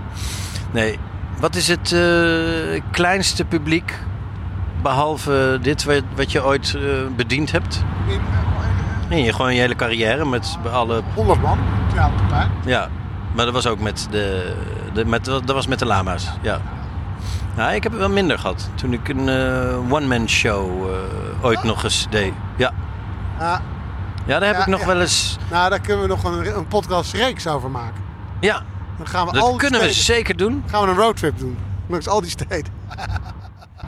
D: Nee, wat is het eh, kleinste publiek, behalve dit wat, wat je ooit eh, bediend hebt? In je, gewoon je hele carrière met alle...
G: 100 man, theaterpartij.
D: Ja, maar dat was ook met de... de met, dat was met de lama's, ja. Nou, ik heb het wel minder gehad. Toen ik een eh, one-man show eh, ooit nog eens deed. Ja,
G: Ja,
D: ja daar heb
G: Ah. Ja,
D: ik nog
G: ja.
D: wel eens...
G: nou, daar kunnen we nog een, een podcastreeks over maken.
D: Ja,
G: Dan gaan we
D: Dat
G: al die
D: kunnen we
G: steden-
D: zeker doen.
G: Gaan we een roadtrip doen. Langs al die steden.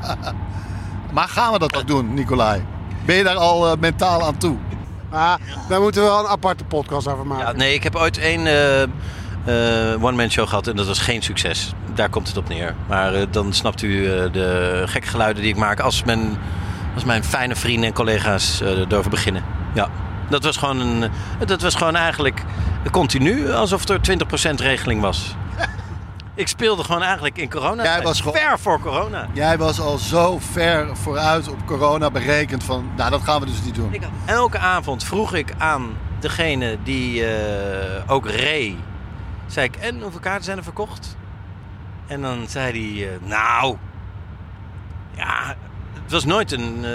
G: <laughs>
E: Maar gaan we dat ook doen, Nicolai? Ben je daar al eh, mentaal aan toe?
G: Maar daar moeten we wel een aparte podcast over maken.
D: Ja, nee, ik heb ooit één eh, one-man show gehad en dat was geen succes. Daar komt het op neer. Maar eh, dan snapt u eh, de gekke geluiden die ik maak als, men, als mijn fijne vrienden en collega's eh erover beginnen. Ja, dat was gewoon, een, dat was gewoon eigenlijk continu alsof er 20% regeling
E: <laughs>
D: was. ik speelde gewoon eigenlijk in corona.
E: Jij was gewoon-
D: ver voor corona.
E: Jij was al zo ver vooruit op corona berekend van, nou dat gaan we dus niet doen.
D: Elke avond vroeg ik aan degene die eh, ook reed. Zei ik, en hoeveel kaarten zijn er verkocht? En dan zei hij, eh, nou... Ja, het was nooit een, eh,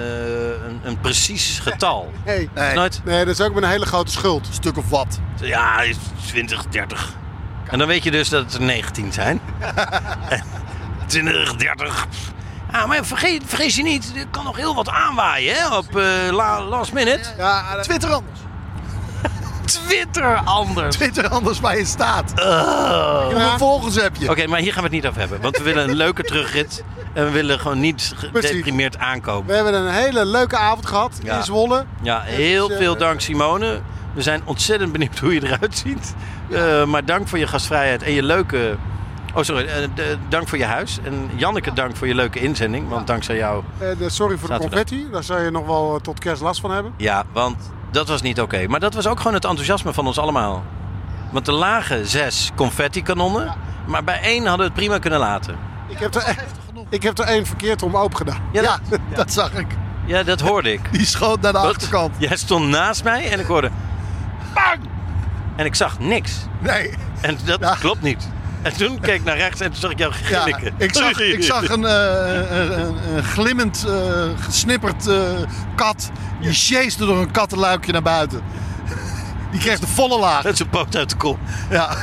D: een, een precies
G: <laughs>
D: getal.
G: Nee.
D: Het was Nooit,
G: Nee, dat is ook met een hele grote schuld.
E: Een stuk of wat.
D: ja, 20, 30. En dan weet je dus dat het er 19
G: <laughs>
D: zijn. 20, 30. Ah, maar vergeet, vergeet je niet, er kan nog heel wat aanwaaien hè, op eh, la- last minute.
G: Ja, dat-
E: Twitter anders.
D: Twitter anders.
E: Twitter anders waar je staat. Hoeveel volgers heb je?
D: Eh. Oké, maar hier gaan we het niet over hebben. Want we willen een leuke terugrit. En we willen gewoon niet gedeprimeerd
G: we
D: aankomen.
G: hebben een hele leuke avond gehad
D: Ja.
G: in Zwolle.
D: Ja, heel
G: Dus, eh,
D: veel dank Simone. We zijn ontzettend benieuwd hoe je eruit ziet. Eh, maar dank voor je gastvrijheid en je leuke... Oh, sorry. eh, de- dank voor je huis. En Janneke, dank voor je leuke inzending. Want dankzij jou...
G: En, eh, sorry voor de
D: Zaterdag.
G: confetti. Daar zou je nog wel eh, tot kerst last van hebben.
D: Ja, want dat was niet oké. Maar dat was ook gewoon het enthousiasme van ons allemaal. Want er lagen zes confetti-kanonnen. Maar bij één hadden we het prima kunnen laten.
G: Ik heb er, e- ik heb er één verkeerd om open gedaan.
D: Ja,
E: Ja,
D: dat,
E: <laughs> dat zag ik.
D: ja, dat hoorde ik.
E: <laughs> Die schoot naar de
D: Wat?
E: achterkant.
D: Jij stond naast mij en ik hoorde... Bang! En ik zag niks.
E: Nee.
D: En dat
E: Ja.
D: klopt niet. En toen keek ik naar rechts en toen zag ik jou
E: Ja,
D: grinniken.
E: ik
D: <laughs>
E: zag, ik zag een, eh, een, een- een glimmend, eh, gesnipperd eh, kat. Die sjeesde door een kattenluikje naar buiten. Die kreeg de volle laag.
D: Met zijn poot uit de kop.
E: Ja.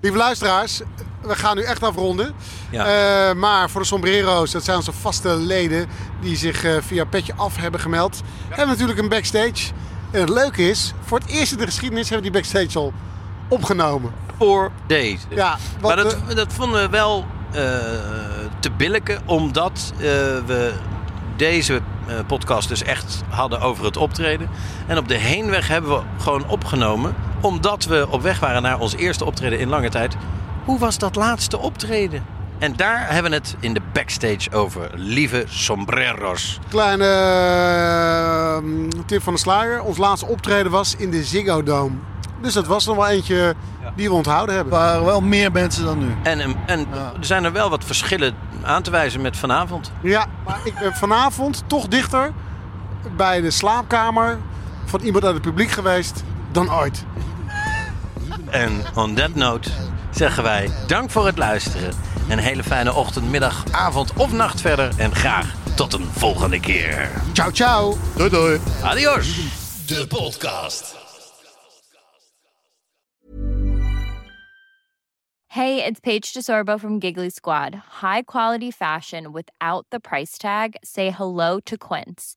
G: Lieve luisteraars, we gaan nu echt afronden.
D: Ja.
G: Eh, maar voor de sombrero's, dat zijn onze vaste leden die zich eh, via Petje Af hebben gemeld. En natuurlijk een backstage. En het leuke is, voor het eerst in de geschiedenis hebben we die backstage al opgenomen.
D: Voor deze.
G: Ja,
D: maar
G: want
D: dat, dat vonden we wel eh, te billijken. Omdat eh, we deze eh, podcast dus echt hadden over het optreden. En op de heenweg hebben we gewoon opgenomen. Omdat we op weg waren naar ons eerste optreden in lange tijd. Hoe was dat laatste optreden? En daar hebben we het in de backstage over. Lieve sombreros.
G: Kleine eh, tip van de slager. Ons laatste optreden was in de Ziggo Dome. Dus dat was nog wel eentje die we onthouden
E: Er
G: hebben.
E: waren wel meer mensen dan nu.
D: En, en, en er zijn er wel wat verschillen aan te wijzen met vanavond.
G: Ja, maar ik ben vanavond toch dichter bij de slaapkamer van iemand uit het publiek geweest dan ooit.
D: En on that note zeggen wij dank voor het luisteren. Een hele fijne ochtend, middag, avond of nacht verder. En graag tot een volgende keer.
G: Ciao, ciao.
E: Doei doei.
D: Adios.
A: De podcast.
C: Hey, it's Paige DeSorbo from Giggly Squad. High quality fashion without the price tag. Say hello to Quince.